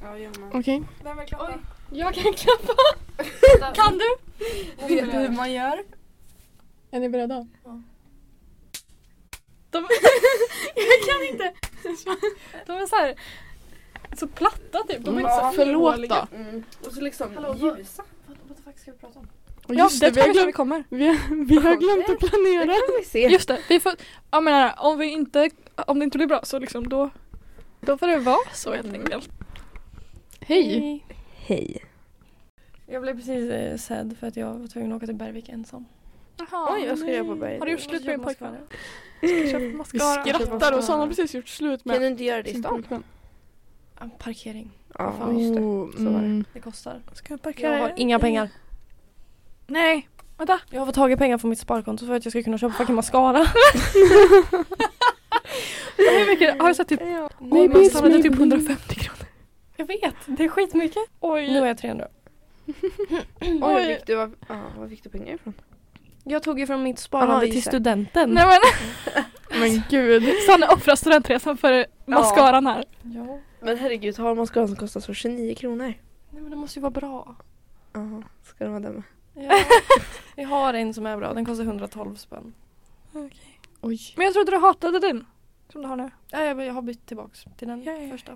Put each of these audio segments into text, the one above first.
Ja, jag med. Okej. Vem vill klappa? Jag kan klappa. kan du? Vet du hur man gör? Är ni beredda? De... jag kan inte. De är så här. Så platta typ. De är Mm. inte så Ja, förlåt ihåliga. då. Mm. Och så liksom Hallå, vad- ljusa. Vad, vad fuck ska vi prata om? Och Ja, just det det, vi har kanske vi glömt, kommer. vi har, vi har glömt att planera. vi se. Just det, vi får, jag menar, om, vi inte, om det inte blir bra så liksom då, då får det vara så helt enkelt. Mm. Hej! Hej. Jag blev precis eh, sedd för att jag var tvungen att åka till Bergvik ensam. Jaha, Oj, jag ska jobba på Bergvik. Har du gjort slut med din pojkvän? pojkvän? Köpt Vi mascara. skrattar och Sanna har precis gjort slut Kan med du inte göra det i sin stan? pojkvän. Parkering. Ja, fan. just det. Oh, Så var det. mm. Det kostar. Ska jag parkera? Jag har inga pengar. Nej, vänta. Jag har fått tagit pengar från mitt sparkonto för att jag ska kunna köpa fucking mascara. Hur mycket? Har du sett typ? Nej, men men bitch, Sanna, det är typ maybe. 150 kronor. jag vet, det är skitmycket. Oj. Nu är jag 300. Oj, Oj. vad fick du, av- ja, var fick du pengar ifrån? Jag tog ju från mitt Aha, sparande just till det. studenten. Nej men Men gud. Sanna offrar studentresan för mascaran här. Ja. Men herregud, har man skål som kostar så 29 kronor? Nej men det måste ju vara bra. Ja, ska de ha den med? Ja. Vi har en som är bra, den kostar 112 spänn. Oj. Men jag trodde du hatade den. Som du har nu. Ja, jag jag har bytt tillbaks till den Ja, ja, ja. första.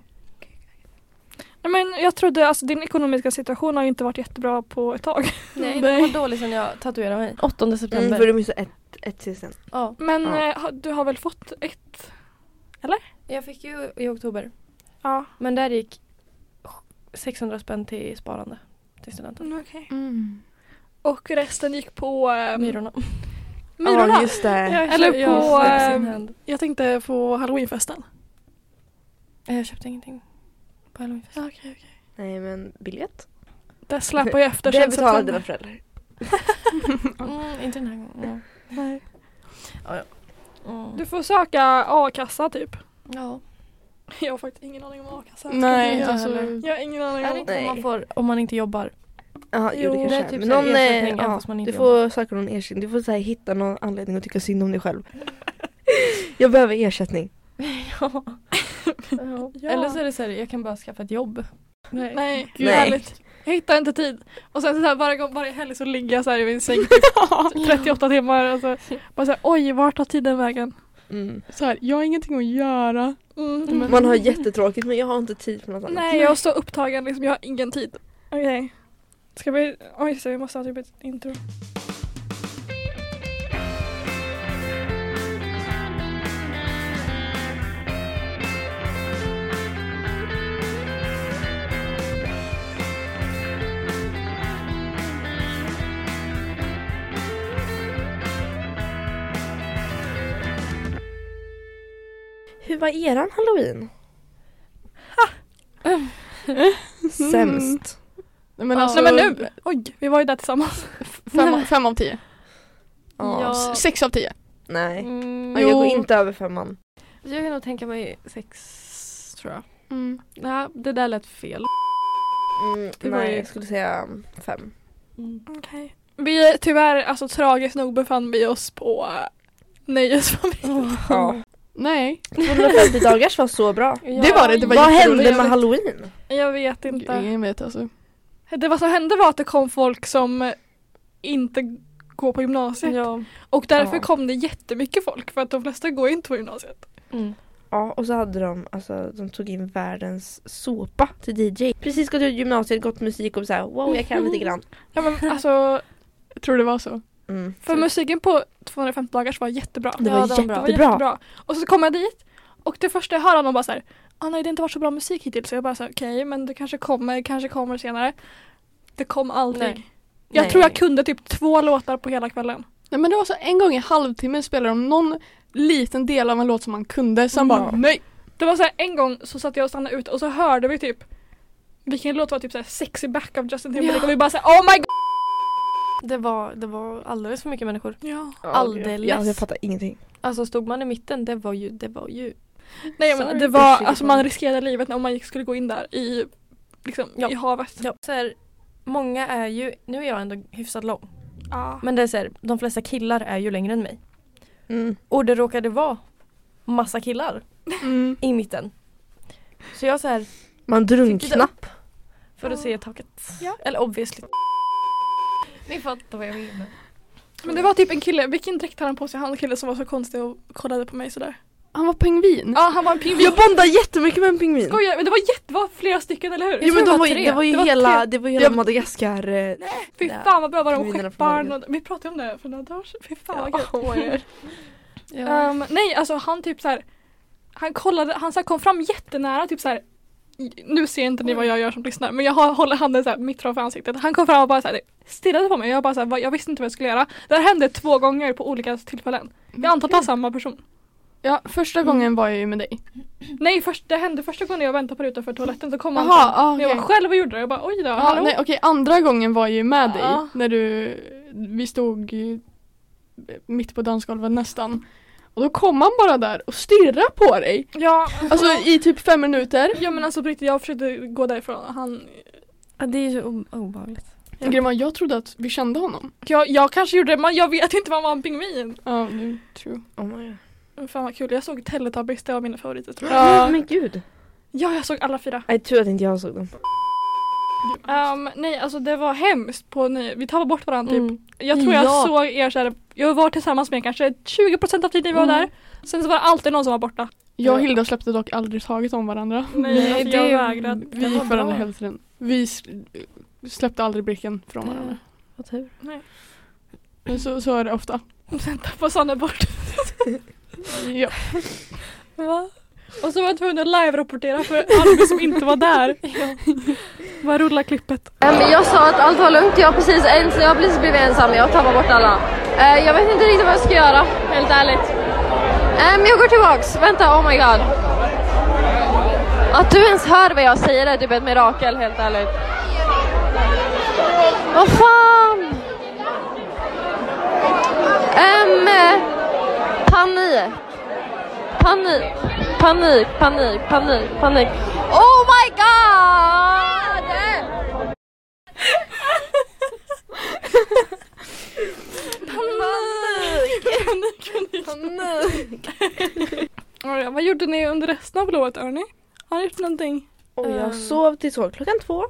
Nej men jag trodde, alltså din ekonomiska situation har ju inte varit jättebra på ett tag. Nej, Nej. den var dålig sen jag tatuerade mig. 8 Mm, september. Mm, för du missade ett, ett till sen. Ja, Men Ja. eh, ha- du har väl fått ett? jag fick ju i oktober. Ja. Men där gick 600 spänn till sparande till studenten. Mm, Okej. Mm. Och resten gick på ehm, Myrorna. Myrorna. Ja, just det. Ja. Eller Mm. jag, på, jag, ehm, second hand. Jag tänkte på halloweenfesten. Eh, jag köpte ingenting på halloweenfesten. Okej, okej. Nej, men biljett? Det släpar ju efter det sen betalade dina september. föräldrar. Mm, inte den här gången. Nej. Ja, ja. Mm. Du får söka a-kassa typ. ja. Jag har faktiskt ingen aning om a-kassa. Nej, inte alltså. heller. Jag har ingen aning Är det om. inte Nej. vad man får om man inte jobbar? Ja, Jo, jo, det det kanske är är. typ Men så här någon, eh, ersättning, även ja, fast man inte Du får söka någon ersättning. Du får så här, hitta någon anledning att tycka synd om dig själv. jag behöver ersättning. ja. Ja. Eller så är det så här, jag kan bara skaffa ett jobb. Nej. Nej, Gud. Nej. Nej. Härligt. Jag hittar inte tid. Och sen så här, varje, gång, varje helg så ligger jag så här i min säng typ 38 timmar. Och så, bara så här, oj, vart tar tiden vägen? Så här, jag har ingenting att göra. Mm. Man har jättetråkigt men jag har inte tid för något annat. Nej, jag är så upptagen liksom. Jag har ingen tid. Okej. Ska vi... Oj, så vi måste ha typ ett intro. Hur var eran halloween? Sämst. Nej, Men Ja. alltså, Nej men nu! Oj, vi var ju där tillsammans. Fem, fem av tio. Ja. Ja. S- Sex av tio. Nej. Mm, Ja, jag går jo. inte över femman. Jag kan nog tänka mig sex, tror jag. Mm. Nej, det där lät fel. Mm, Det var nej, ju- jag skulle säga fem. Mm. Okej. Vi tyvärr, alltså tragiskt nog befann vi oss på uh, Nöjesfamiljen. Ja. Nej. 250 dagars var så bra. Det var det, det var Vad hände jätteroligt. med halloween? Jag vet inte. Ingen vet alltså. Det vad som hände var att det kom folk som eh, inte går på gymnasiet. Ja. Och därför Ja. kom det jättemycket folk för att de flesta går ju inte på gymnasiet. Mm. Ja, och så hade de, alltså de tog in världens såpa till DJ. Precis gått ut gymnasiet, gått musik och så här, wow jag kan lite grann. Ja, men, alltså, Jag tror det var så. Mm. för musiken på 250 dagars var jättebra. Det Ja, var de- Det var jättebra. jättebra. Och så kom jag dit och det första jag hör av dem bara så här, ah, nej det har inte varit så bra musik hittills. Så jag bara så här, okej men det kanske kommer, kanske kommer senare. Det kom aldrig. Nej. Jag Nej. tror jag kunde typ två låtar på hela kvällen. Nej men det var så en gång i halvtimmen spelade de någon liten del av en låt som man kunde. Sen bara Ja. nej. Det var så här, en gång så satt jag och stannade ut och så hörde vi typ vilken låt var typ så här sexy back av Justin Timberlake och vi bara såhär oh my god! Det, var, det var alldeles för mycket människor. Ja. Ja, Alldeles. Jag, jag fattar ingenting. Alltså stod man i mitten, det var ju, det var ju. Nej men Sorry. det var, Usch, alltså det var- man riskerade livet när man gick- skulle gå in där i, liksom, Ja. i havet. Ja. Så här, många är ju, nu är jag ändå hyfsat lång. Ja. Men det är så här, de flesta killar är ju längre än mig. Mm. Och det råkade vara massa killar Mm. i mitten. Så jag så här, Man drunkna. upp för att se taket. Ja. Eller obviously. Ni fattar vad jag menar. Men det var typ en kille, vilken dräkt hade han på sig? Han var en kille som var så konstig och kollade på mig sådär. Han var pingvin. Ja han var en pingvin. Jag bondar jättemycket med en pingvin. Skojar, men det var jätte, det var flera stycken eller hur? Jo, men det de var var, ju- tre. det var ju Det var hela, tre. det var ju hela Ja. Madagaskar... eh, Fy Nej. fan vad bra var de Pingvinerna från skepparen Norge. och, vi pratade om det för några dagar sedan. Fy fan Ja. vad gött. Ja. Ehm, nej alltså han typ såhär Han kollade, han så här kom fram jättenära typ såhär Nu ser inte ni vad jag gör som lyssnar men jag har- håller handen såhär mitt framför ansiktet Han kom fram och bara såhär stirrade på mig jag bara såhär, "Va?" jag visste inte vad jag skulle göra Det här hände två gånger på olika tillfällen Jag antar att det var samma person Ja, första gången var jag ju med dig. Nej först, det hände första gången jag väntade på det utanför toaletten så kom han Jaha, fram. ah, Men jag okej. var själv och gjorde det jag bara oj då, Ja, hallå? nej, okej, andra gången var jag ju med dig Ja. när du, vi stod ju mitt på dansgolvet nästan. Och då kom han bara där och stirrade på dig. Ja, Alltså i typ fem minuter. ja men alltså på riktigt jag försökte gå därifrån han Ja, det är ju så o- obehagligt. Ja. Grema, jag trodde att vi kände honom. jag, jag kanske gjorde det men jag vet inte vad man var en pingvin Ja, nu true. Oh my God. Fan vad kul, jag såg Teletubbies, det var mina favoriter tror jag. Ja. Men gud. Ja, jag såg alla fyra. Nej tur att inte jag såg dem. Ehm, nej, alltså det var hemskt. På, ny- vi tappade bort varandra typ. Mm. Jag tror jag Ja. såg er såhär, jag var tillsammans med er kanske 20% av tiden vi var Mm. där. Sen så var det alltid någon som var borta. Jag och Hilda släppte dock aldrig taget om varandra. Nej, alltså, jag vägrade. Vi gick varandra hela tiden. Vi s- släppte aldrig blicken från varandra. Vad typ? tur. Men så, så är det ofta. Och Sen tappade Sanne bort. Ja. Va? Och så var jag tvungen att live-rapportera för Albin som inte var där. Vad rullar klippet? Ehm, Jag sa att allt var lugnt, jag har precis, ens, jag har precis blivit ensam, jag tappar bort alla. Eh, Jag vet inte riktigt vad jag ska göra, helt ärligt. Ehm, Jag går tillbaks, vänta, oh my god. Att du ens hör vad jag säger är typ ett mirakel, helt ärligt. Vad fan! Ehm, eh, panik. Panik, panik, panik, panik, panik. Oh my god! Ja, Vad gjorde ni under resten av lovet hörni? Har ni gjort någonting? Och jag Ehm. sov till så klockan två.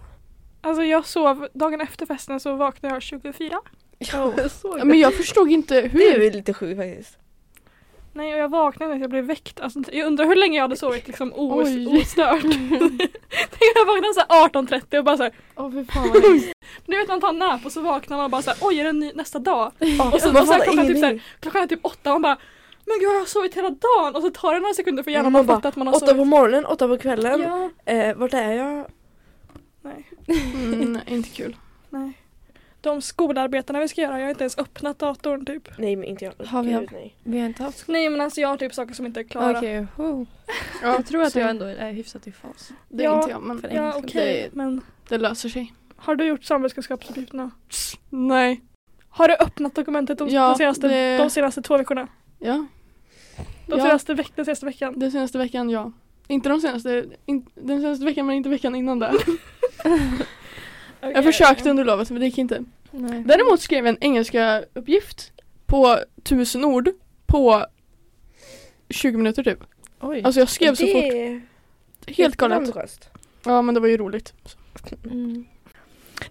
Alltså jag sov, dagen efter festen så vaknade jag 24. Jag såg Men jag förstod inte hur. Det är väl lite sjukt faktiskt. Nej och jag vaknade när jag blev väckt. Alltså, jag undrar hur länge jag hade sovit liksom os- Oj. ostört. Tänk jag vaknade såhär 18.30 och bara såhär, Åh fy fan vad hemskt. du vet när man tar en nap och så vaknar man och bara såhär, oj är det en ny, nästa dag? Ja, Och så, man och så här, fattar klockan, typ, så ingenting. här, klockan är typ åtta och man bara, men gud har jag sovit hela dagen? Och så tar det några sekunder för hjärnan Man att bara, fatta att man har Åtta på sovit. morgonen, åtta på kvällen. Ja, Eh, vart är jag? nej, Mm, nej, inte kul. nej. De skolarbetena vi ska göra, jag har inte ens öppnat datorn typ. Nej men inte jag. Har vi Gud, nej. Vi har inte haft Nej men alltså jag har typ saker som inte är klara. Okej, wow. Ja, jag tror att så- jag ändå är hyfsat i fas. Det är Ja, inte jag men för en Ja gångs okej, skull. men det löser sig. har du gjort samhällskunskapsuppgifterna? Nej. Har du öppnat dokumentet de, Ja, de, senaste, det- de senaste två veckorna? Ja, De Ja. senaste veck, den senaste veckan? den senaste veckan ja. Inte de senaste, in, den senaste veckan men inte veckan innan det. Jag försökte under lovet men det gick inte. Nej. Däremot skrev jag en engelska uppgift på tusen ord på 20 minuter typ. Oj. Alltså jag skrev så Det fort. är Helt galet. ambitiöst. Ja men det var ju roligt. Mm.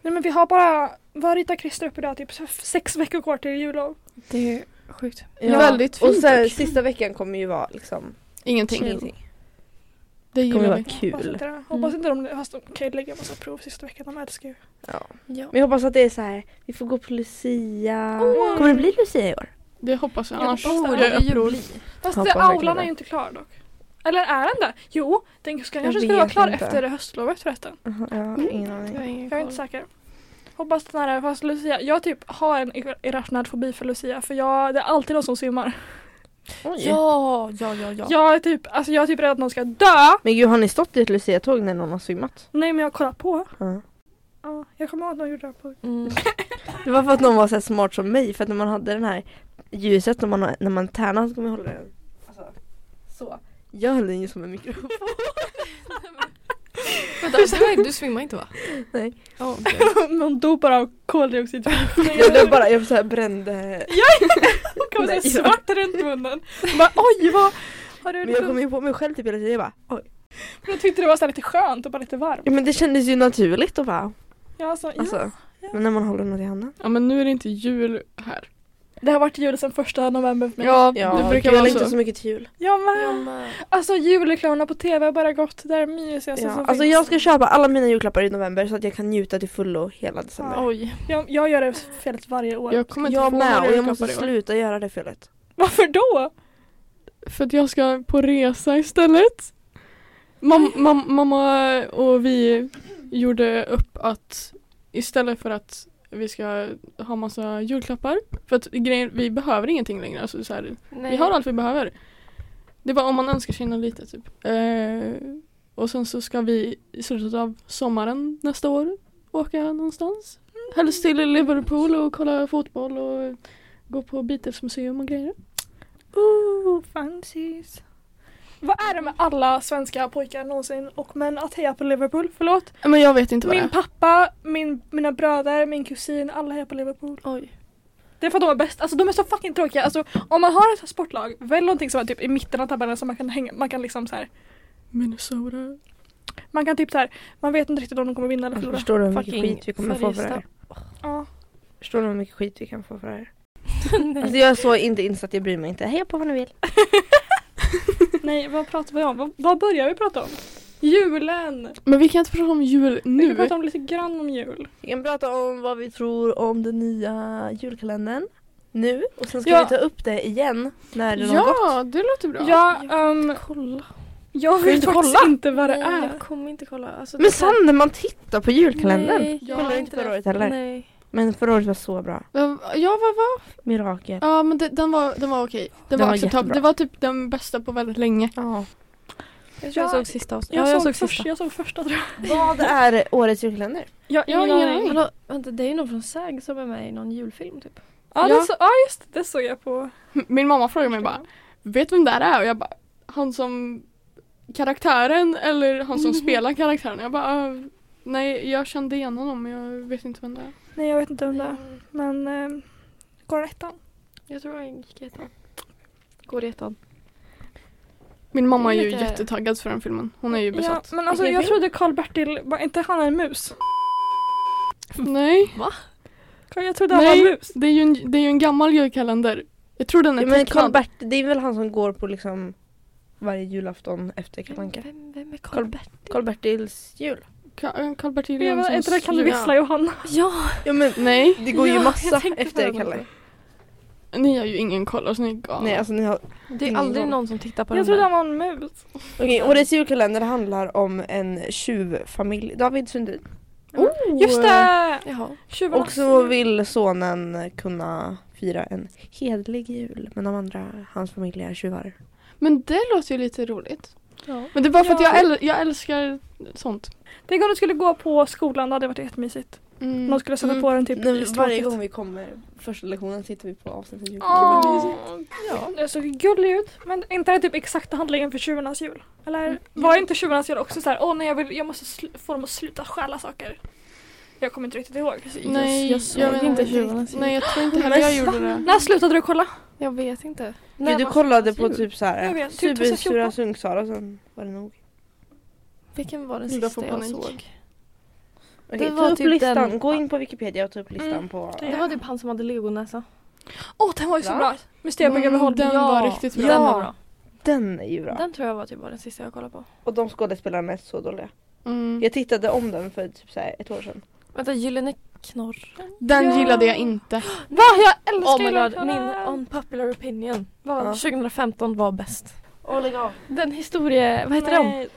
Nej men vi har bara, vad ritar Christer upp idag? Typ f- sex veckor kvar till jullov. Det är sjukt. Ja. Väldigt Och fint sen dock. sista veckan kommer ju vara liksom Ingenting. ingenting. Det Det kommer gillar vara vi. Hoppas kul. inte, det. hoppas inte de, fast de kan ju lägga en massa prov sista veckan, de älskar ju. Ja. Ja. Men jag hoppas att det är så här. vi får gå på Lucia. Åh. Kommer det bli Lucia i år? Det hoppas jag. Jag Annars hoppas det. jag är uppror. Fast Hoppas det, verkligen aulan det. är ju inte klar dock. Eller är den det? Jo, den ska, Jag kanske ska vara vet klar inte. efter höstlovet förresten. Jaha, Mm. ja, ingen aning. Jag är inte säker. Hoppas den här är, fast Lucia, jag typ har en ir- irrationell fobi för Lucia för jag, det är alltid någon som svimmar. Oj. Ja, ja, ja, ja. Jag är typ, alltså jag är typ rädd att någon ska dö. Men gud har ni stått i ett Lucia-tåg när någon har svimmat? Nej men jag kollar på. Ja. Ja, jag kommer ihåg att någon gjorde det här på Mm. Det var för att någon var så här smart som mig för att när man hade den här ljuset när man, har- när man tärnar så kommer jag hålla den alltså, så. Jag höll den ju som en mikrofon. Vänta, du, du svimmar inte va? Nej. Åh, gud. Någon dog bara av koldioxid. Jag blev bara, jag så här brände. Kommer Nej, såhär svart runt munnen. Bara, Oj vad har du Men jag kom ju på mig själv typ hela tiden jag bara oj. Men jag tyckte det var så här lite skönt och bara lite varmt. Ja men det kändes ju naturligt att bara, Ja, alltså, ja. alltså. Men när man håller något i handen. Ja men nu är det inte jul här. Det har varit jul sedan första november för mig. Ja, det brukar vara inte så. så mycket till jul. Jag med. Alltså julreklamerna på tv har bara gått. Det är det mysigaste Ja. som Alltså finns. jag ska köpa alla mina julklappar i november så att jag kan njuta till fullo hela december. Oj. jag, jag gör det felet varje år. Jag kommer inte jag få med några och jag julklappar måste i år. sluta göra det felet. Varför då? För att jag ska på resa istället. Mam, mam, mamma och vi gjorde upp att istället för att vi ska ha massa julklappar. För att grejen, vi behöver ingenting längre. Alltså så här, vi har allt vi behöver. Det var om man önskar sig något lite typ. Eh, och sen så ska vi i slutet av sommaren nästa år åka någonstans. Helst till Liverpool och kolla fotboll och gå på Beatles-museum och grejer. Ooh, fancies. Vad är det med alla svenska pojkar någonsin och män att heja på Liverpool? Förlåt. Men jag vet inte vad Min det är. pappa, min, mina bröder, min kusin, alla hejar på Liverpool. Oj. Det är för att de är bäst. Alltså de är så fucking tråkiga. Alltså om man har ett sportlag, välj någonting som är typ i mitten av tabellen så man kan hänga, man kan liksom så här. Minnesota. Man kan typ så här. man vet inte riktigt om de kommer vinna eller förlora. Förstår du hur mycket Fucking skit vi kommer få för det här? Färjestad. Ja. Förstår du hur mycket skit vi kan få för det här? Mm. Alltså jag är så inte insatt, jag bryr mig inte. Heja på vad ni vill. Nej, vad pratar vi om? Vad, vad börjar vi prata om? Julen! Men vi kan inte prata om jul Vi kan nu. prata om lite grann om jul. Vi kan prata om vad vi tror om den nya julkalendern nu och sen ska Ja. vi ta upp det igen när den har gått. Ja, det låter bra. Ja, ehm, Kolla. jag du vet inte faktiskt inte vad det Nej, är. jag kommer inte kolla. Alltså, Men Sanne man tittar på julkalendern. Nej, jag kollade inte förra året heller. Nej. Men förra året var så bra. Ja, vad var? Mirakel. Ja, men det, den var, den var okej. Den, Den var var acceptabel. jättebra. Det var typ den bästa på väldigt länge. Ja. Jag tror jag Ja, såg sista avsnittet. Jag, Ja, jag såg såg först, sista. jag såg första tror jag. Vad är årets julkalender? Jag, Jag har ingen aning. Hallå, vänta, det är ju någon från SAG som är med i någon julfilm typ. Ja, Ja. Det så, ja just det, det såg jag på. Min mamma frågade mig bara, vet du vem det här är? Och jag bara, han som karaktären eller han som spelar karaktären? Jag bara, "Ah, nej jag kände igen honom men jag vet inte vem det är. Nej jag vet inte om det är. men eh, går det ettan? Jag tror han gick i ettan. Går i ettan. Min mamma är ju Lite- jättetaggad för den filmen. Hon är ju Ja, besatt. men alltså Vilken jag film? trodde Karl-Bertil, var inte han en mus? Nej, Jag trodde han var en nej mus. det, är ju en, det är ju en gammal julkalender. Jag tror den är Ja, men tecknad. Karl-Bert, det är väl han som går på liksom varje julafton efter Kalle Vem, Anka. vem, vem är Karl-Bertil? Karl-Bertils jul. Ka- eh, Karl-Bertil Jag vet inte, det Jonssons kan du jul. vissla Johanna. Ja! Ja men Nej, det går Ja, ju massa jag tänkte på efter det. Kalle. ni har ju ingen koll. Alltså, ni är galna. Nej alltså ni har... Det är aldrig någon som tittar på Jag den trodde där. han var en mus. Okej, årets julkalender handlar om en tjuvfamilj. David Sundin. Oh. Just det! Jaha. Tjuvarna. Och så vill sonen kunna fira en hedlig jul men de andra, hans familj är tjuvar. Men det låter ju lite roligt. Ja. Men det är bara för att Ja. jag, äl- jag älskar sånt. Tänk om du skulle gå på skolan, det hade varit jättemysigt. Mm. Någon skulle sätta Mm. på den typ i Nu, varje stråket. gång vi kommer första lektionen sitter vi på avsnittet julkalender. Åh, Ja, det såg gullig ut. Men är inte det typ exakta handlingen för tjuvarnas jul? Eller Mm. var inte tjuvarnas jul också så här, åh nej jag, vill, jag måste sl- få dem att sluta stjäla saker? Jag kommer inte riktigt ihåg. Nej, jag såg vet inte riktigt. Tjuvarnas jul. Nej, jag tror inte heller jag Men gjorde det. När slutade du kolla? Jag vet inte. Gud, När du var kollade Sommars på jul? typ Jag såhär vet, typ supersura 2014. Sundsvara sen var det nog. Vilken var den Gud, jag sista får jag panik. Typ, såg? Okej, Det var ta upp typ listan. den- Gå in på Wikipedia och ta upp listan Mm, på... det- Det var typ han som hade legonäsa. Åh den var ju så Va? bra! Mysteriet på Mm, Greveholm. den Ja. var riktigt bra. Den var bra. Den är ju bra. Den tror jag var typ bara den sista jag kollade på. Och de skådespelarna är så dåliga. Mm. Jag tittade om den för typ såhär ett år sedan. Vänta, Gyllene knorren? Den Ja. gillade jag inte. Va? Jag älskar Oh my ju den god, min här. unpopular opinion. Ja. Vad 2015 var bäst. Åh lägg av. Den historie... Vad heter de? Nej.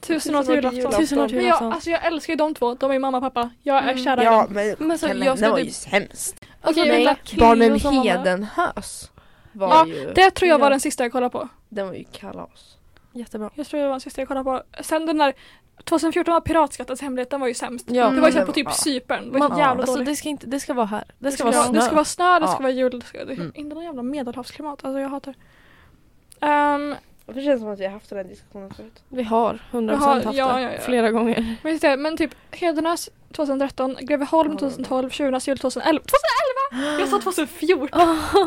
Tusen år till Tusen år till julafton. julafton. Tusen år till Men jag, julafton. alltså jag älskar ju de två, de är mamma och pappa. Jag är Mm. kär i Ja dem. men, Men så, kalendern jag ska var typ- ju sämst. Okej nej. vänta. Cleo Barnen som var med. Hedenhös var Ja, ju... Det tror jag var Ja. den sista jag kollade på. Den var ju kalas. Jättebra. Jag tror det var den sista jag kollade på. Sen den där 2014 var Piratskattens hemlighet, den var ju sämst. Ja. Det var ju Mm. såhär på typ Ja. Cypern. Det var Man, så jävla alltså, dåligt. det, ska inte, det ska vara här. Det Det ska ska, vara vara, snö. det ska vara snö, det ska Ja. vara jul, det ska, det, Mm. inte någon jävla medelhavsklimat. Alltså jag hatar um, Det känns som att vi har haft den här diskussionen förut. Vi har 100% Jaha, haft ja, det. ja, ja. Flera gånger. men, just det, men typ Hedenäs 2013, Greveholm 2012, Tjurnas jul 2011. 2011! Jag sa 2014!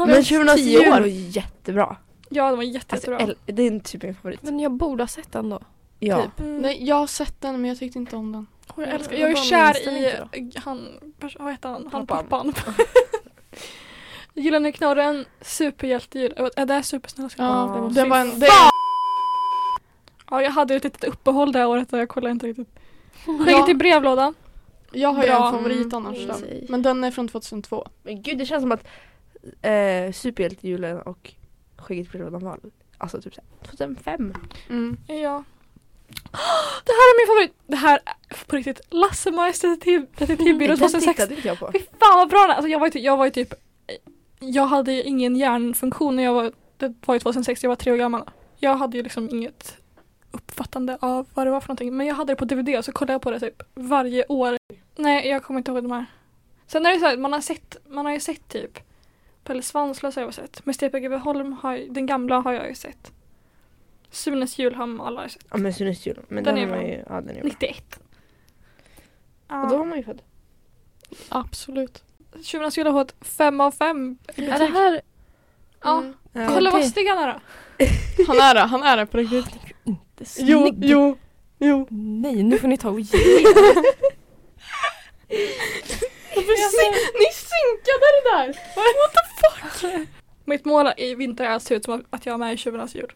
Men Tjurarnas tio jul år. var ju jättebra. Ja, de var Alltså, jättejättebra. äl- det är typ min favorit. Men jag borde ha sett den då. Ja. Typ. Nej, jag har sett den men jag tyckte inte om den. Mm, Och jag, Ja, älskar, jag vad är minns kär den i inte han, pers- vad heter han, han Pappan. pappan. Gyllene knorren, superhjältegill. Är det supersnälla Ja, skallen? det måste det ju- var en... Det, Ja, jag hade ett litet uppehåll det här året och jag kollade inte riktigt. Skicka Ja. till brevlådan. jag har ju Bra. en favorit annars då. Mm. Men den är från 2002. Men gud det känns som att eh, Superhjältejulen och Skägget på rödan var alltså typ så här 2005. Mm. Ja. Det här är min favorit. Det här är på riktigt Lassemajs detektiv- detektivbyrå Mm, Den 2006. tittade inte jag på. Fy fan vad bra den är. alltså, jag, var ju typ, jag var ju typ Jag hade ju ingen hjärnfunktion när jag var Det var ju 2006, jag var tre år gammal Jag hade ju liksom inget uppfattande av vad det var för någonting Men jag hade det på DVD så kollade jag på det typ varje år Nej jag kommer inte ihåg de här Sen är det så här, man har sett Man har ju sett typ Pelle Svanslös har jag sett Mustafa G.W. Holm har ju- Den gamla har jag ju sett Sunes jul har alla sett Ja men Sunesjulen. Men Den den, är den bra. var ju, ja den är bra. 91 Och då var man ju född. Absolut. Tjuvarnas jul har fått fem av fem Är det här... Ja, Mm. kolla vad det- snygg han är då Han är det, han är det på riktigt. Det är Jo, snygg. jo, jo. Nej, nu får ni ta och ge Ni synkade det där! What the Mitt mål i vinter är att se ut som att jag är med i Tjuvarnas jul.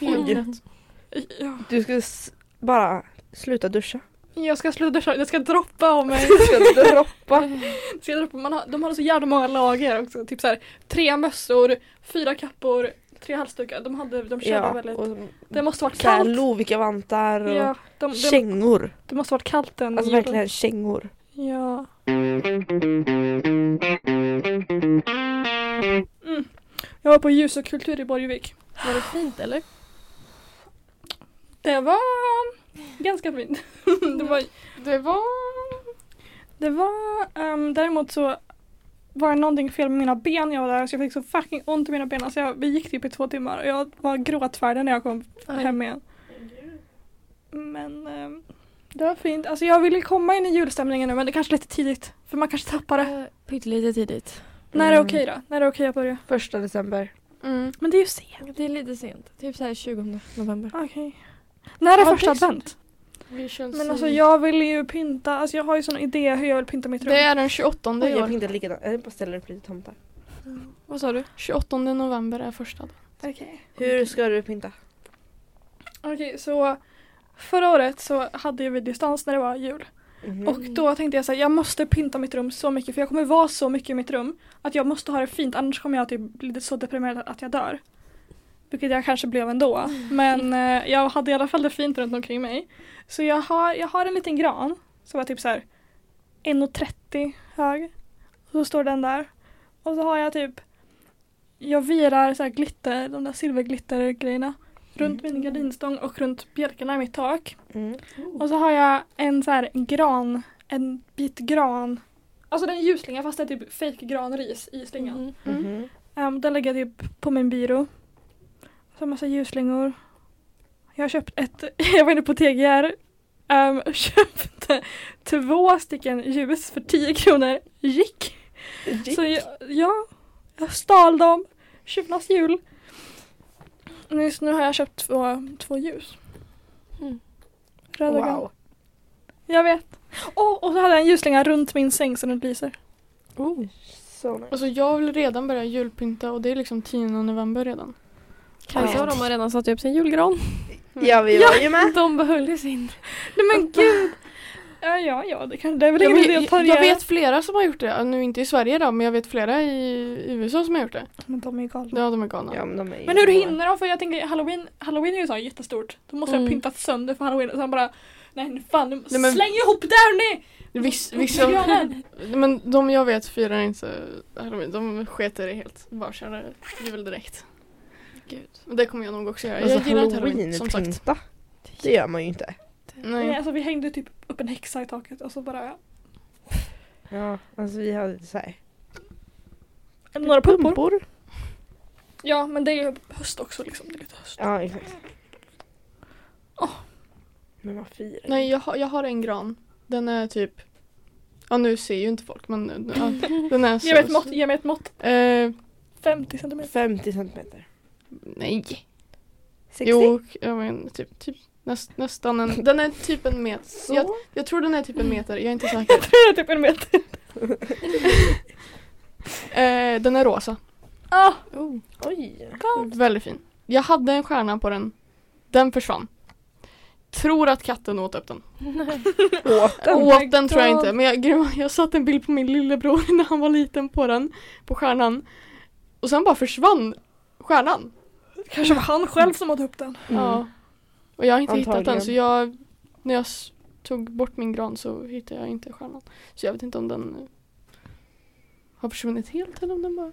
Helt Oj. rätt. Ja. Du ska s- bara sluta duscha. Jag ska sluta köra, jag ska droppa om mig. Du ska droppa. Jag Ska droppa. Man har, de har så jävla många lager också. Typ såhär tre mössor, fyra kappor, tre halsdukar. De, hade, de körde ja, väldigt. och Det måste varit så här kallt. lovika vantar och Ja, de, de, kängor. det måste varit kallt den Alltså julen. verkligen kängor. Ja. Mm. Jag var på ljus och kultur i Borgvik. Var det fint eller? Det var ganska fint. Det var Det var... Det var, ehm, däremot så var det någonting fel med mina ben jag var där så jag fick så fucking ont i mina ben. Alltså jag, vi gick typ i två timmar och jag var gråtfärdig när jag kom hem igen. Men ehm, det var fint. Alltså jag ville komma in i julstämningen nu men det kanske är lite tidigt. För man kanske tappar det. Eh, Pyttelite tidigt. När är det okej då? När är det okej att börja? Mm. Första december. Mm. Men det är ju sent. Det är lite sent. Typ såhär 20 november. Okej. När är Ja, första det är sant. advent? Vi shall Men see. alltså jag vill ju pynta. Alltså jag har ju sån idé hur jag vill pynta mitt rum. Det är den 28 Oj, i jag år. fick inte likadant. Jag bara ställer upp lite tomtar. Vad sa du? 28 november är första dagen. Okej. Hur ska du pynta? Okej, så förra året så hade ju vi distans när det var jul. Mhm. Och då tänkte jag så här, jag måste pynta mitt rum så mycket för jag kommer vara så mycket i mitt rum att jag måste ha det fint annars kommer jag typ bli så deprimerad att jag dör. Vilket jag kanske blev ändå. Men eh, jag hade i alla fall det fint runt omkring mig. Så jag har, jag har en liten gran som var typ så här 1,30 hög. Så står den där. Och så har jag typ jag virar så här glitter, de där silverglittergrejerna runt min gardinstång och runt bjälkarna i mitt tak. Mm. Och så har jag en så här en gran, en bit gran. Alltså den är ljusslinga fast det är typ fake granris i slingan. Mm. Mhm. Ehm, den lägger jag typ på min byrå. Så en massa ljusslingor. Jag har köpt ett, jag var inne på TGR ehm, och köpte två stycken ljus för 10 kronor. Gick. Mm-hmm. Så jag, ja, jag stal dem. Tjuvarnas jul. Just nu har jag köpt två, två ljus. Mm. Röda och gröna. Wow. Jag vet. Åh, och så hade jag en ljusslinga runt min säng så den lyser. So nice. Alltså jag vill redan börja julpynta och det är liksom 10 november redan. Kajsa och de har redan satt upp sin julgran. Mm. Ja vi var ju med. De behöll ju sin. Nej men gud. Ja, ja, ja, det, kan, det är väl Ja, ingen men idé jag, att jag, parera. vet flera som har gjort det. Nu inte i Sverige då men jag vet flera i USA som har gjort det. Men de är ju galna. Ja de är galna. Ja, men, de är ju Men hur goa. hinner de? För jag tänker halloween, halloween i USA är jättestort. De måste ha Mm. pyntat sönder för halloween och sen bara Nej nu fan, nu, Nej, men- släng ihop det här ni! Viss, Upp med vissa, granen! men de jag vet firar inte halloween. De sketer i det helt. Bara kör juldräkt. Gud. Men det kommer jag nog också göra. Alltså, jag gillar inte halloween som sagt. halloweenpynta. Det gör man ju inte. Nej, Nej. alltså, vi hängde typ upp en häxa i taket och så bara Ja, alltså vi hade så här. Några pumpor. Ja men det är ju höst också liksom. Det är lite höst. Ja exakt. Men vad firar vi? Nej jag, har- jag har en gran. Den är typ Ja nu ser ju inte folk men ja, den är så. Ge mig ett mått, ge mig ett mått. Eh, 50 centimeter. 50 centimeter. nej. 60? Jo, jag men typ, typ Näst, nästan en, den är typ en meter. Jag, jag tror den är typ en meter, jag är inte säker. Tror det är typ en meter? Eh, den är rosa. Oh, Ah, Oj. Väldigt fin. Jag hade en stjärna på den. Den försvann. Tror att katten åt upp den. Åt den? åt den tror jag God. inte. Men jag, grym- jag satte en bild på min lillebror när han var liten på den. På stjärnan. Och sen bara försvann stjärnan. kanske var han själv som åt upp den. Mm. Ja. Och jag har inte hittat den Antagligen. så jag när jag s- tog bort min gran så hittade jag inte stjärnan. Så jag vet inte om den eh, har försvunnit helt eller om den bara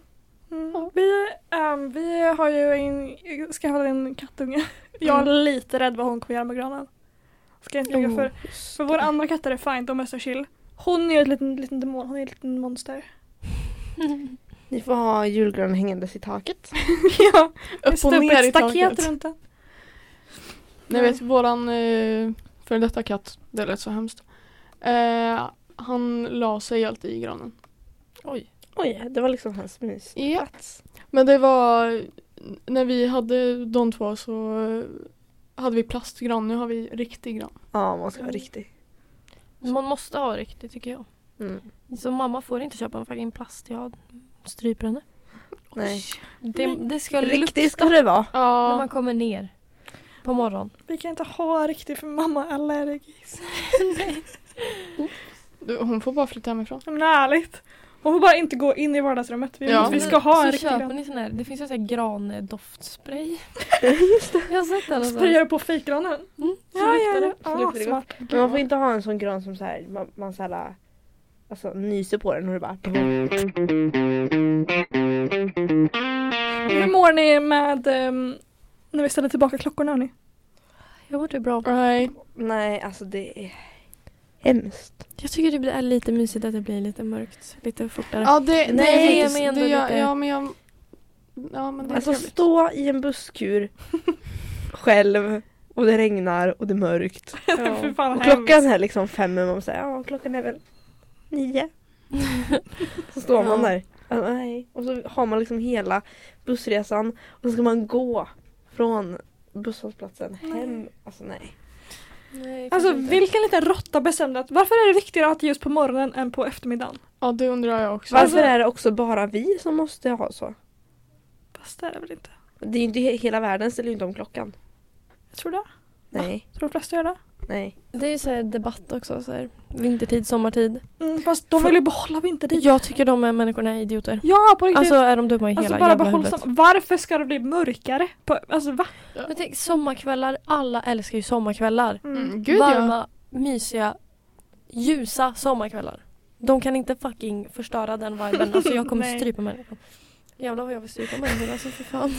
Ja. Mm. Vi, ehm, vi har ju en, skaffat en kattunge. Jag är Mm. lite rädd vad hon kommer göra med granen. Ska jag inte ljuga för. För våra andra katter är fine, de är så chill. Hon är ju en liten, liten demon, hon är ett litet monster. Ni får ha julgranen hängandes i taket. ja, upp och ner i taket. runt den. Ni vet våran eh, före detta katt, det lät så hemskt. Eh, han la sig alltid i granen. Oj, det var liksom hans mys. Ja. Men det var när vi hade de två så eh, hade vi plastgran, nu har vi riktig gran. Ja, man ska vara riktig. Man måste ha riktigt tycker jag. Mm. Så mamma får inte köpa en fucking plast. Jag stryper henne. Nej. Det, det ska Riktig lukta ska det vara. när Ja, man kommer ner. På morgonen. Vi kan inte ha riktigt för mamma är allergisk. du, hon får bara flytta hemifrån. Men ärligt. Hon får bara inte gå in i vardagsrummet. Vi, Ja. vi ska ha en så riktig köper gran. ni sån här, det finns ju en sån här grandoftspray. Just det. Jag har sett den någonstans. Sprayar på fejkgranen. Mm, så Ja, luktar ja, det. ja. luktar Ah, det gott. smart. Men man får inte ha en sån gran som så här, man, man så här, alltså, nyser på den och det bara... Hur mår ni med ehm, när vi ställer tillbaka klockorna hörni? Jag mår det bra. Nej, Nej, alltså det är hemskt. Jag tycker det blir- är lite mysigt att det blir lite mörkt lite fortare. ja, det, Nej, det, men ändå det, ja, lite- ja, men jag, ja, men det är Alltså trevligt. stå i en busskur själv och det regnar och det är mörkt. Fy fan, Och vad klockan är liksom fem och man säger ja klockan är väl nio. Så står man där. Alltså, nej. Och så har man liksom hela bussresan och så ska man gå från busshållplatsen hem. Alltså nej. Nej, Alltså kanske inte. vilken liten råtta bestämde att varför är det viktigare att ha ljus på morgonen än på eftermiddagen? Ja, det undrar jag också. Varför är det också bara vi som måste ha så? Fast det är det väl inte? Det är ju inte he- hela världen ställer ju inte om klockan. Jag tror det. Nej, Tror de flesta gör det. nej. Det är ju så här debatt också. Så här. Vintertid, sommartid. Mm, fast de vill ju behålla vintertid. Jag tycker de här människorna är idioter. Ja på riktigt. Alltså Alltså, är de dumma i hela bara jävla behåll huvudet. sam- Varför ska det bli mörkare? På, alltså va? Men tänk, sommarkvällar. Alla älskar ju sommarkvällar. Mm, gud ja. Varma, mysiga, ljusa sommarkvällar. De kan inte fucking förstöra den viben. Alltså jag kommer Nej. strypa människor. Jävlar vad jag vill strypa människor alltså för fan.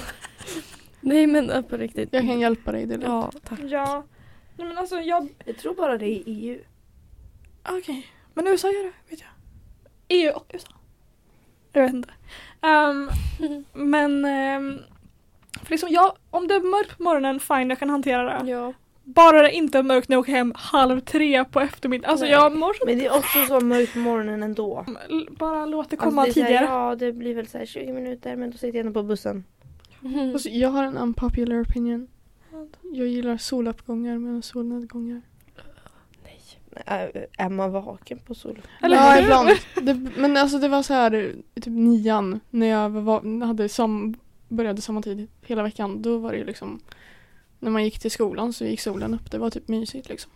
Nej men äh, på riktigt. Jag kan hjälpa dig, det är lugnt. Ja, tack. Ja. Nej men alltså jag... Jag tror bara det är E EU. Okej. Men USA gör det vet jag. EU och USA. Jag vet inte. Ehm, men... ehm, för liksom jag, om det är mörkt på morgonen, fine jag kan hantera det. Ja. Bara det inte är mörkt när jag åker hem halv tre på eftermiddagen. Alltså Nej. jag mår så... Men det är också så mörkt på morgonen ändå. Alltså, L- Bara låt det komma Alltså, det är så här, tidigare. ja, det blir väl så här 20 minuter men då sitter jag ändå på bussen. Mm. Alltså, jag har en unpopular opinion. Jag gillar soluppgångar men solnedgångar. Äh, Är man vaken på sol? Eller ja, hur? ibland. Det, men alltså det var så här i typ nian när jag var, hade sam, började samma tid hela veckan. Då var det ju liksom när man gick till skolan så gick solen upp. Det var typ mysigt liksom.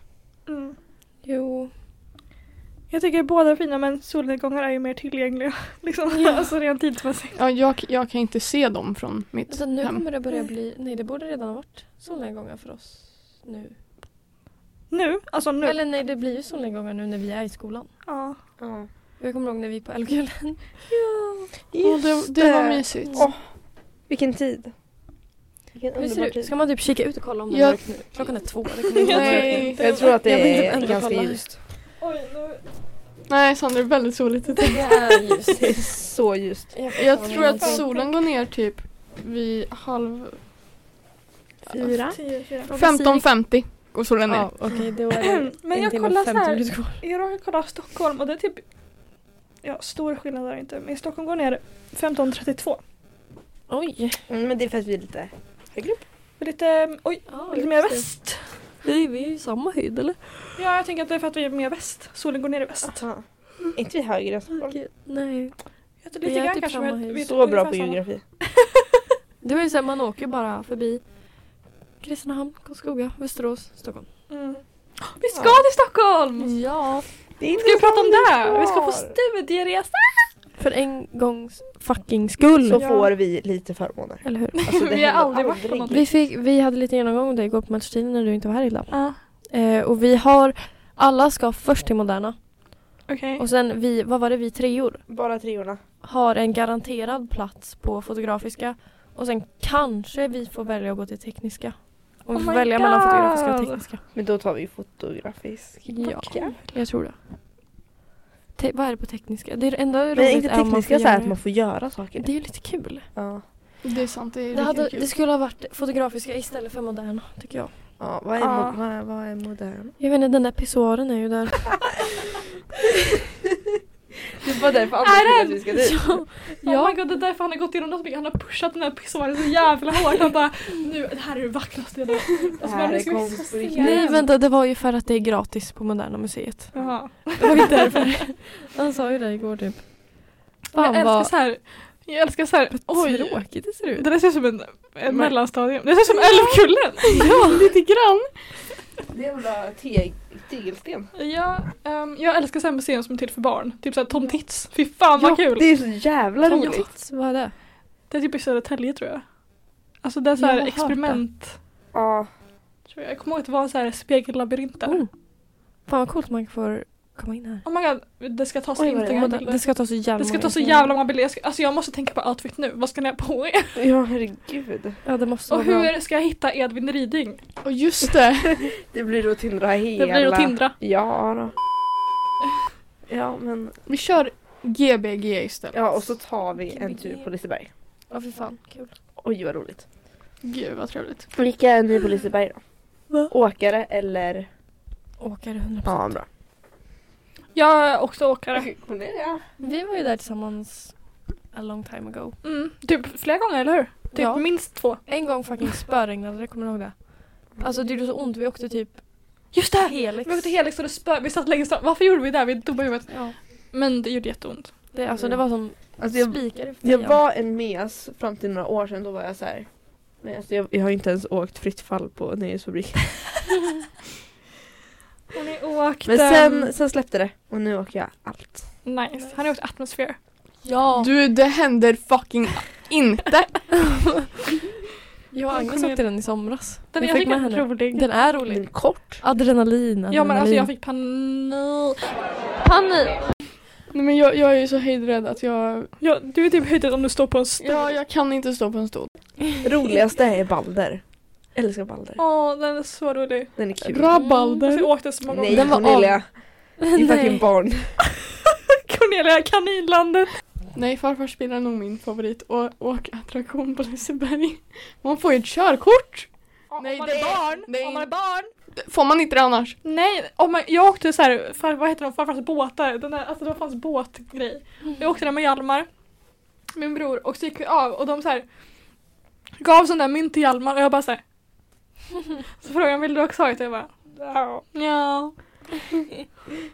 Mm. Jo. Jag tycker båda är fina men solnedgångar är ju mer tillgängliga. Liksom, alltså rent tidsmässigt. Ja, jag, jag kan inte se dem från mitt Alltså, nu hem. kommer det börja bli, nej det borde redan ha varit solnedgångar för oss nu. Nu, alltså nu. Eller nej det blir ju solnedgångar nu när vi är i skolan. Ja. Ja. Jag kommer ihåg när vi är på Älvkullen. Ja, det, det var mysigt. Åh, Vilken tid. Vilken Hur ser underbar det ut? tid. Ska man typ kika ut och kolla om det är Jag- mörkt nu? Klockan är två. Det kommer inte vara mörkt. Nej. Jag tror att Jag vill det typ är ändå ganska kolla. ljust. Oj, nu. Nej, Sandra, det är väldigt soligt. ute. Det är ljust. Det är så ljust. Jag tror att solen går ner typ vid halv Fyra. 15.50 går solen ner. Ja, okej då är det Men en jag timme och kollar 50 så här. minuter kvar. Jag råkar kolla Stockholm och det är typ... Ja, stor skillnad är det inte. Men i Stockholm går ner 15.32. Oj. Mm, men det är för att vi är lite... Med lite, oj, lite mer väst. Nej, vi är ju i samma höjd eller? Ja, jag tänker att det är för att vi är mer väst. Solen går ner i väst. Aha. Är inte vi högre än Stockholm? Gud, nej. Jag tror Vi lite är grann typ kanske. samma men hus. vi är Så bra ungefär på samma. geografi. Det var ju såhär, man åker bara förbi Kristinehamn, Karlskoga, Västerås, Stockholm. Mm. Vi ska till Stockholm! Ja. Det är inte Ska vi prata om det? kvar. Vi ska på studieresa! För en gångs fucking skull. så får vi lite förmåner. Eller hur? Alltså, det Vi har händer aldrig varit på något. Vi, fick, vi hade lite genomgång om det igår på matchtiden när du inte var här Hilda. Ja. Eh, och vi har, alla ska först till Moderna. Okej. Och sen vi, vad var det, vi treor Bara treorna. har en garanterad plats på Fotografiska. Och sen kanske vi får välja att gå till Tekniska. Om vi Oh får my välja mellan God. Fotografiska och Tekniska. Men då tar vi fotografisk. Ja, Ja. jag tror det. Te- vad är det på Tekniska? Det är det enda Men roligt inte är om man tekniska får så här göra att man får göra saker. Det är ju lite kul. Ja. Det är sant, det är Det, riktigt hade, kul. det skulle ha varit Fotografiska istället för Moderna tycker jag. ja vad, är Ja. mo- vad, är, vad är modern? Jag vet inte, den där pissoaren är ju där. Det var därför andra Är vill att den? vi ska ja. Oh my god, det är därför han har gått igenom så mycket. Han har pushat den här pissoaren så jävla hårt. Han bara nu, det här är det vackraste jag har Det alltså, här man är ska konst på riktigt. Nej vänta, det var ju för att det är gratis på Moderna Museet. Jaha. Det var ju därför. Han sa ju det igår typ. Jag Fan älskar vad så här. Jag älskar så här. Oj, tråkigt det ser ut. det där ser ut som en, en mellanstadium. Det ser ut som Älvkullen! Ja, lite grann. Det är väl te- tegelsten. Ja, ehm, jag älskar så här museum som är till för barn. Typ såhär Tom Tits. Fy fan vad kul! Det är så jävla Tom roligt. Tits, vad är det? Det är typ i Södertälje tror jag. Alltså det är Jag har såhär hört experiment. Ja. Tror jag. jag kommer ihåg att det var en sån här spegellabyrint där. Oh. Fan vad coolt man får komma in här. Oh my god, det ska tas Oj, vad det inte många Moder- bilder. Det ska Mm. ta så jävla Det ska många ta så bilder. jävla många bilder. Jag, ska, alltså jag måste tänka på outfit nu. Vad ska ni ha på er? ja, herregud. Ja det måste Och vara bra. hur ska jag hitta Edvin Riding? Och just det! Det blir att tindra hela... Det blir att tindra. Ja då. Ja men, Vi kör GBG istället. ja och så tar vi en tur på Liseberg. Ja fy fan, kul. Oj vad roligt. Gud vad trevligt. Vilka är ni på Liseberg då? Va? Åkare eller? Åkare 100%. Ja bra. Jag är också åkare. Cornelia. Vi var ju där tillsammans a long time ago. Mm, typ flera gånger, eller hur? Typ Ja. minst två. En gång fucking spöregnade det, kommer du ihåg det? Alltså det gjorde så ont, vi åkte typ Just det! Helix. Vi åkte Helix och det spö. Vi satt längst fram. Varför gjorde vi det? Vi dumma i huvudet. Ja. Men det gjorde jätteont. Det, alltså det var som Alltså jag, spikar i jag fejan. var en mes fram till några år sedan då var jag så här. Men alltså jag, jag har ju inte ens åkt fritt fall på nöjesfabriken. Och ni åkte... Men sen, sen släppte det och nu åker jag allt. Nice. Han har åkt Atmosphere. Ja! Du, det händer fucking inte! jag och Agnes åkte den i somras. Den Vi jag fick tycker med är henne. rolig. Den är rolig. Men kort. Adrenalin, adrenalin. Ja men alltså jag fick panik. Panik. Nej men jag, jag är ju så höjdrädd att jag... Ja, du är typ höjdrädd om du står på en stol. Ja, jag kan inte stå på en stol. Roligaste är Balder. Älskar Balder. Åh, den är så rolig. Den är kul. Alltså, Typ. Rabalder. jag åkte så många Nej gånger. Den var Cornelia. Det är fucking Nej. barn. Cornelia, kaninlandet. Nej, farfar spelar nog min favorit och åkattraktion på Liseberg. Man får ju ett körkort! Nej, om man det- är barn. nej. Om man är barn. Får man inte det annars? Nej, om man, jag åkte så här, far, vad heter de, farfars båtar. Den där, alltså det var fanns båtgrej. Jag åkte där med Hjalmar, min bror, och så gick vi av och de så här gav sån där mynt till Hjalmar och jag bara så här. Så frågade han vill du också ha ett? Och jag bara ja. ja.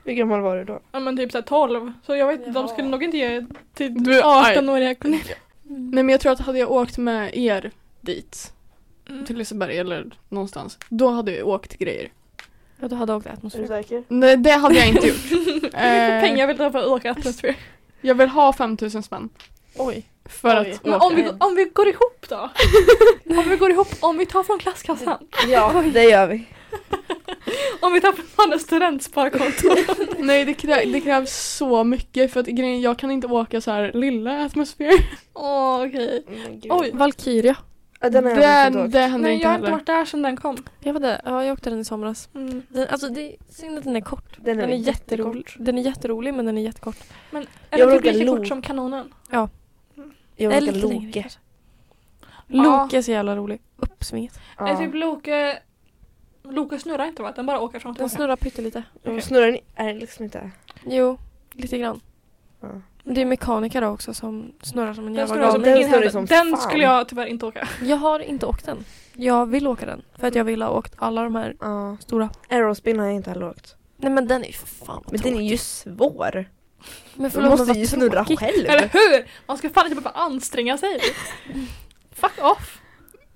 Hur gammal var du då? Ja men typ såhär 12. Så jag vet inte, de Jaha. skulle nog inte ge till Du är arg. 18-åriga Cornelia. Nej men jag tror att hade jag åkt med er dit, Mm. till Liseberg eller någonstans, då hade jag åkt grejer. Ja, du hade åkt atmosfär. säker? Nej, det hade jag inte gjort. Hur Eh, mycket pengar vill du ha för att åka Atmosphere? Jag vill ha 5000 spänn. Oj. För Oj. att Men åka. om vi, om vi går ihop då? om vi går ihop, om vi tar från klasskassan? Ja, det gör vi. Om vi tar från Hannes studentsparkonto? Nej det, krä det krävs så mycket för att grejen, jag kan inte åka så här lilla atmosfär. Åh okej. Oj. Valkyria. Ja, den har jag Det, missat det händer Nej inte jag har inte heller. varit där sedan den kom. Jag var där. Ja, jag åkte den i somras. Mm. Den, alltså det är synd att den är kort. åkt. Den Den är är jätterolig. jätterolig. Den är jätterolig men den är jättekort. Eller vill typ åka lika lo. kort som kanonen. Jag Eller vill åka lite längre Loke. kanske. Ja. Loke är så jävla rolig. Uppsvinget. Är typ Ja. Loke... Loke snurrar inte va? Den bara åker från Den tillbaka. snurrar pyttelite. Men Snurrar ni? Är det liksom inte? Jo, lite grann. Ja. Det är mekaniker då också som snurrar som en Den jävla snurrar som galning. Den ingen snurrar händer. som Den fan. skulle jag tyvärr inte åka. Jag har inte åkt den. Jag vill åka den. För att jag vill ha åkt alla de här Ja. stora. Aerospin har jag inte heller åkt. Nej men den är ju för fan vad Men den är ju svår. Men Du måste ju snurra Eller själv. hur? Man ska fan inte behöva anstränga sig. Fuck off.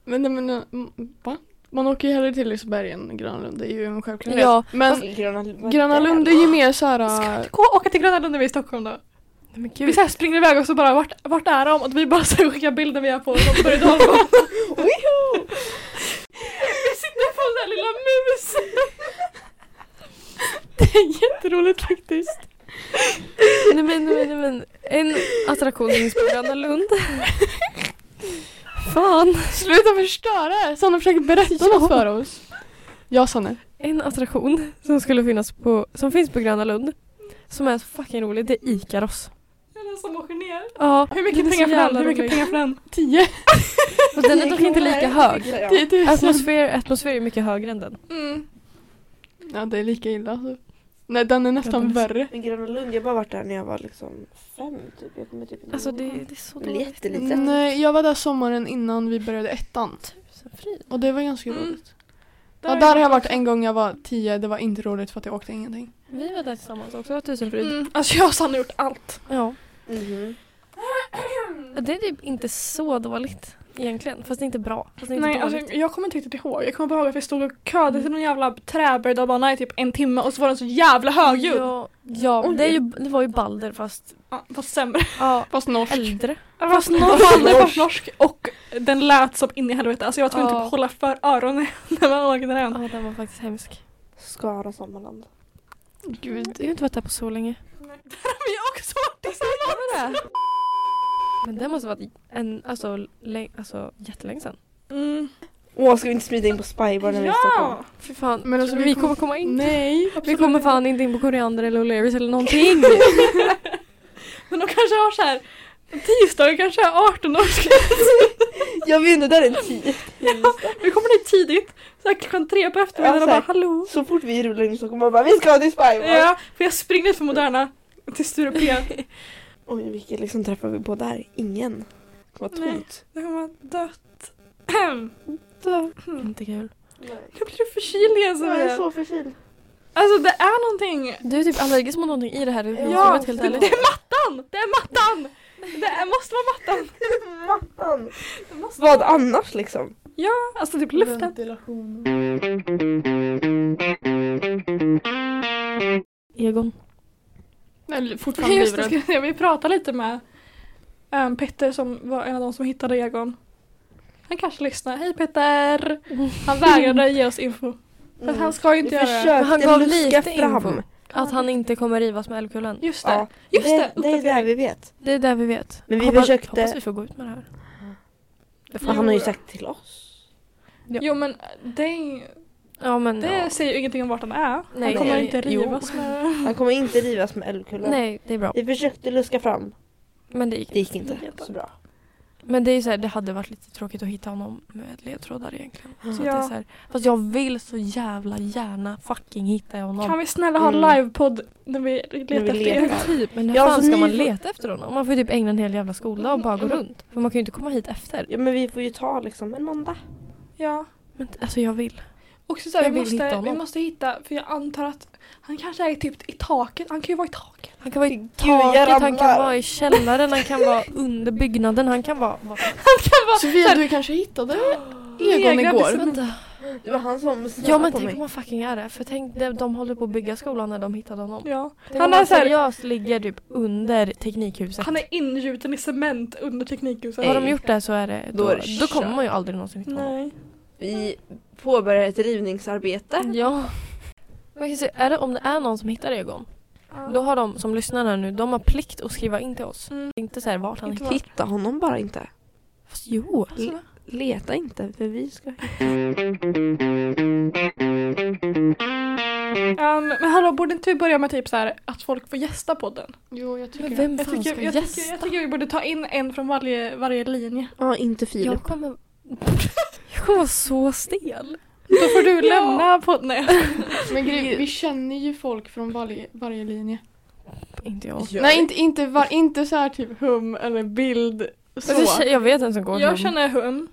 Men, men, men mm, va? Man åker ju hellre till Liseberg än Gröna Lund. Det är ju en självklarhet. Ja. Men Gröna, vad Gröna är det? Lund är ju mer såhär... Gå och åka till Gröna Lund när vi är i Stockholm då. Nej, men Vi gud. så här springer iväg och så bara vart, vart är de? Och vi bara så här skickar bilder vi är på. som berg- Woho! Vi sitter på den där lilla musen. Det är jätteroligt faktiskt. nej men, nej, men, nej, men. En attraktion finns på Gröna Lund. fan. Sluta förstöra! Sanna försöker berätta något för oss. Ja Sanne. En attraktion som skulle finnas på, som finns på Gröna Lund. Som är så fucking rolig. Det är Ikaros. Eller som åker ner. Ja. Hur mycket den är så pengar för den? jävla Hur mycket rolig. pengar för den? Tio. Och den är dock inte lika hög. Ja. Atmosfär, atmosfär är mycket högre än den. Mm. Ja det är lika illa. alltså. Nej den är nästan Gröna värre. Men Gröna Lund, jag har bara varit där när jag var liksom fem typ. Jag kommer typ inte Alltså ihåg. det, det är så Det är dåligt. jättelitet. Nej jag var där sommaren innan vi började ettan. Tusenfryd. Och det var ganska Mm. roligt. Ja, där har jag varit en gång jag var tio. Det var inte roligt för att jag åkte ingenting. Vi var där tillsammans också, Tusenfryd. Mm. Alltså jag och Sanna har gjort allt. Ja. Mhm. Det är typ inte så dåligt egentligen. Fast det är inte bra. Fast det är inte Nej, alltså, dåligt. jag kommer inte Mm. riktigt ihåg. Jag kommer bara ihåg att vi stod och köade till någon jävla träberg i typ en timme och så var den så jävla högljudd. Ja. Ja, ja det, är ju, det var ju Balder fast fast sämre. ja, Fast norsk. äldre. Fast norsk. Den var norsk och den lät som in i helvete. Alltså jag var tvungen Ja. typ hålla för öronen när man åkte den. Ja, den var faktiskt hemsk. Skara Sommarland. Gud. Jag har inte varit där på så länge. Men jag har också varit i Var det? Men den måste ha varit en, alltså, lä- alltså jättelänge sedan. Mm. Åh, ska vi inte smita in på Spybar när vi är i Stockholm? Ja! Fy fan. Men alltså, vi, vi kommer komma in. Nej. Vi kommer fan inte in på koriander eller O'Learys eller någonting. Men de kanske har så här tisdagen kanske är 18 års Jag vet inte, där är en tid. Vi kommer dit tidigt, så här klockan tre på eftermiddagen Ja, och så här. bara hallå. Så fort vi rullar in i Stockholm man bara vi ska till Spybar! Ja, för jag springer ut för Moderna till Sture P. Oj, vilka liksom träffar vi på där? Ingen. Vad Nej. tomt. Det kommer vara dött. inte kul. Jag blir förkyld igen Jag är Sofia. så förkyld. Alltså det är någonting. Du är typ allergisk mot någonting i det här huset, Ja, helt det, ärligt. det är mattan! Det är mattan! Det är, måste vara mattan. Mattan! Det måste Vad annars liksom? Alltså typ luften. Egon. Nej, fortfarande Just det, livrädd. ska jag, vi prata lite med ehm, Petter som var en av de som hittade Egon. Han kanske lyssnar. Hej Petter! Han vägrade ge oss info. För att han ska ju Vi inte göra det. försökte Men han gav luska lite fram. info. Att han inte kommer rivas med älgkullen. Just det. Ja, Just det. det, det är där vi vet. Det är där vi vet. Men vi hoppas, försökte- hoppas vi får gå ut med det här. För han har ju sagt till oss. Jo men det, Ja men det ja. säger ju ingenting om vart han är. Nej. han kommer Nej. inte Jo. rivas med Han kommer inte rivas med älgkullen. Nej det är bra. Vi försökte luska fram. Men det gick Det inte. gick inte så bra. Men det är ju så här, det hade varit lite tråkigt att hitta honom med ledtrådar egentligen. Så att det är Ja. så här, fast jag vill så jävla gärna fucking hitta honom. Kan vi snälla ha Mm. livepodd när vi letar efter letar. er? Typ, men hur Ja, fan så ska ni- man leta efter honom? Man får ju typ ägna en hel jävla skola och bara gå runt. För man kan ju inte komma hit efter. Ja men vi får ju ta liksom en måndag. Ja. Men t- alltså jag vill. Och så här, Jag vi, vill hitta måste, vi honom. måste hitta, för jag antar att han kanske är typ i taket. Han kan ju vara i taket. Han kan vara i Gud, jag taket, han ramlar. kan vara i källaren, han kan vara under byggnaden, han kan vara... vara Sofia du kanske hittade Egon Egna igår? beslut. vänta. Det var han som snurrade Ja men på tänk om mig. han fucking är det. För tänk de, de håller på att bygga skolan när de hittade honom. Ja. Tänk Han om är han så här- seriöst ligger typ under teknikhuset. Han är ingjuten i cement under Teknikhuset. Har de gjort det så är det... Då, Då då, är det kommer kört. man ju aldrig någonsin hitta honom. Nej. Vi påbörjar ett rivningsarbete. Mm. Ja. Man kan säga, är det, om det är någon som hittar Egon, då har de som lyssnar här nu, de har plikt att skriva in till oss. Mm. Inte så här vart han Inte hittar. Hitta honom bara inte. Fast jo. Leta inte för vi ska Ehm, men hallå, borde inte vi börja med typ så här att folk får gästa podden? Jo jag Men tycker det. vem Jag fan tycker, ska jag, gästa? tycker, jag tycker vi borde ta in en från varje, varje linje. Ja, inte Filip. jag kommer... jag kommer vara så stel. Då får du lämna podden. Nej. Men grej, vi känner ju folk från varje, varje linje. Inte jag. Nej inte, inte, var, inte så här typ hum eller bild. Så. Alltså, jag vet inte ens som går Jag känner hum.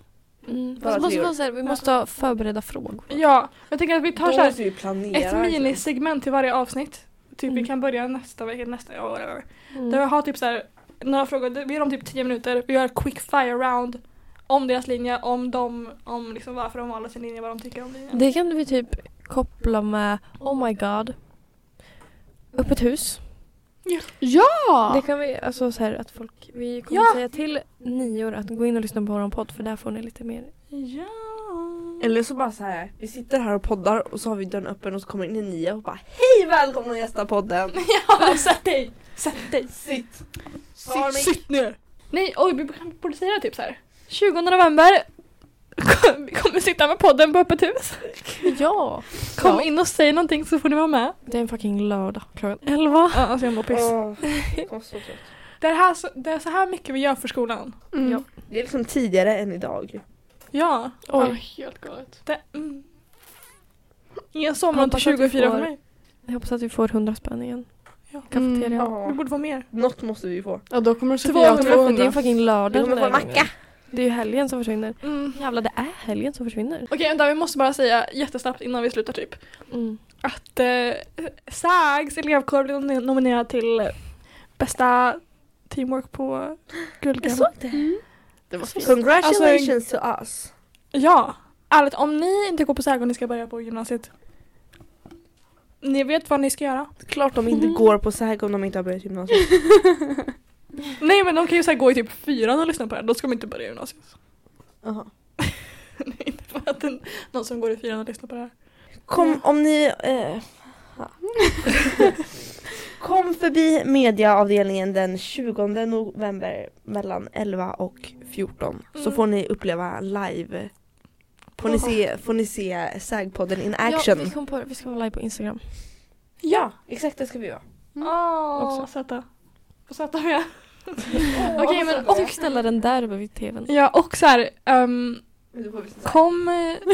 Mm. Bara Fast måste tre år. vara så här, vi måste ha förberedda frågor. Ja, jag tänker att vi tar så här, vi planera. ett liksom. minisegment till varje avsnitt. Typ vi typ. Mm. kan börja nästa vecka, nästa ja, whatever. Mm. Där vi har typ så här, några frågor, vi är om typ 10 minuter, vi gör ett quick fire round om deras linje, om dem, om liksom varför de valde sin linje, vad de tycker om linjen. Det kan vi typ koppla med Oh my god. Öppet hus. Ja! Det kan vi, alltså så här att folk, vi kommer Ja! säga till nior att gå in och lyssna på vår podd för där får ni lite mer. Ja. Eller så bara så här. vi sitter här och poddar och så har vi dörren öppen och så kommer in en nia och bara Hej välkomna att gästa podden! ja, sätt dig! Sätt dig! Sitt! Sitt, sitt ner! Nej, oj, vi kanske borde säga det typ så här. 20 november kom- vi kommer sitta med podden på öppet hus. Ja! Kom Ja. in och säg någonting så får ni vara med. Det är en fucking lördag klockan 11. Ja, alltså jag mår piss. Åh, jag var så trött. Det, är här, så- det är så här mycket vi gör för skolan. Mm. Ja. Det är liksom tidigare än idag. Ja. Ja, Oj. helt galet. Det, mm. Ingen sommar till Hoppas att vi 2024 för får- mig. Jag hoppas att vi får 100 spänn igen. Ja. Kafeteria. Mm. Det borde vara mer. Något måste vi få. Ja då kommer Det Sofia ha är en 200. fucking lördag Vi kommer den här få en gången. Det är ju helgen som försvinner. Mm. Jävlar det är helgen som försvinner. Okej, vänta, vi måste bara säga jättesnabbt innan vi slutar typ. Mm. Att eh, SAGs elevkår blev nom- nominerad till bästa teamwork på Guldgrammet. det. Det var fint. Alltså, Congratulations to us. Ja, ärligt om ni inte går på SAG och ni ska börja på gymnasiet. Ni vet vad ni ska göra. Klart de inte går på SÄG om de inte har börjat gymnasiet. Nej men de kan ju så här gå i typ fyran och lyssna på det här, då ska man inte börja gymnasiet. Jaha. Nej, inte för att en, någon som går i fyran och lyssnar på det här. Kom om ni... Eh, ja. Kom förbi mediaavdelningen den 20 november mellan 11 och 14 så Mm. får ni uppleva live. Får ni se, får ni se SÄG-podden in action. Ja, vi, kom på, vi ska vara live på Instagram. Ja, exakt det ska vi göra. Åh, söta. På söta vi är. Okej men Och ställa den där över vid tvn. Ja och så här, ehm, kom... eh,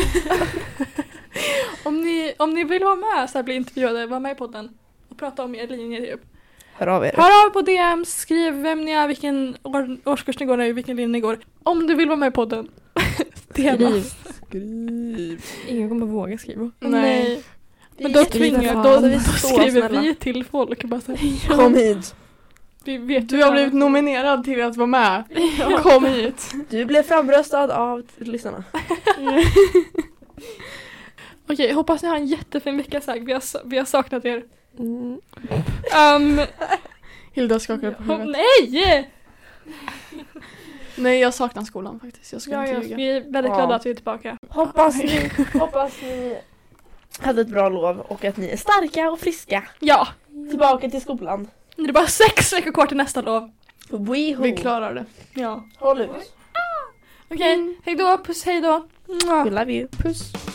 om, ni, om ni vill vara med så här, bli intervjuade, var med i podden och prata om er linje typ. Hör av er. Hör av på DM, skriv vem ni är, vilken år, årskurs ni går i, vilken linje ni går. Om du vill vara med i podden. DM. Skriv. Ingen kommer våga skriva. Nej. Men Vi då är jättefina. tvingar fan. då, Vi då är så skriver snälla. vi till folk och bara så här, Kom hit. vi vet Du har blivit nominerad till att vara med. Kom hit. Du blev framröstad av t- lyssnarna. Okej, hoppas ni har en jättefin vecka Zag. Vi har, sa- vi har saknat er. Mm. Um, Hilda skakar på huvudet. nej! Nej jag saknar skolan faktiskt. Jag ska Ja, ja, inte ljuga. vi är väldigt Ja. glada att vi är tillbaka. Hoppas ni, hoppas ni hade ett bra lov och att ni är starka och friska. Ja, Tillbaka till skolan. det är bara sex veckor kvar till nästa lov. Weho! Vi klarar det. Ja. Håll ut. Mm. Okej, hejdå, puss hejdå. Mua. We love you. Puss.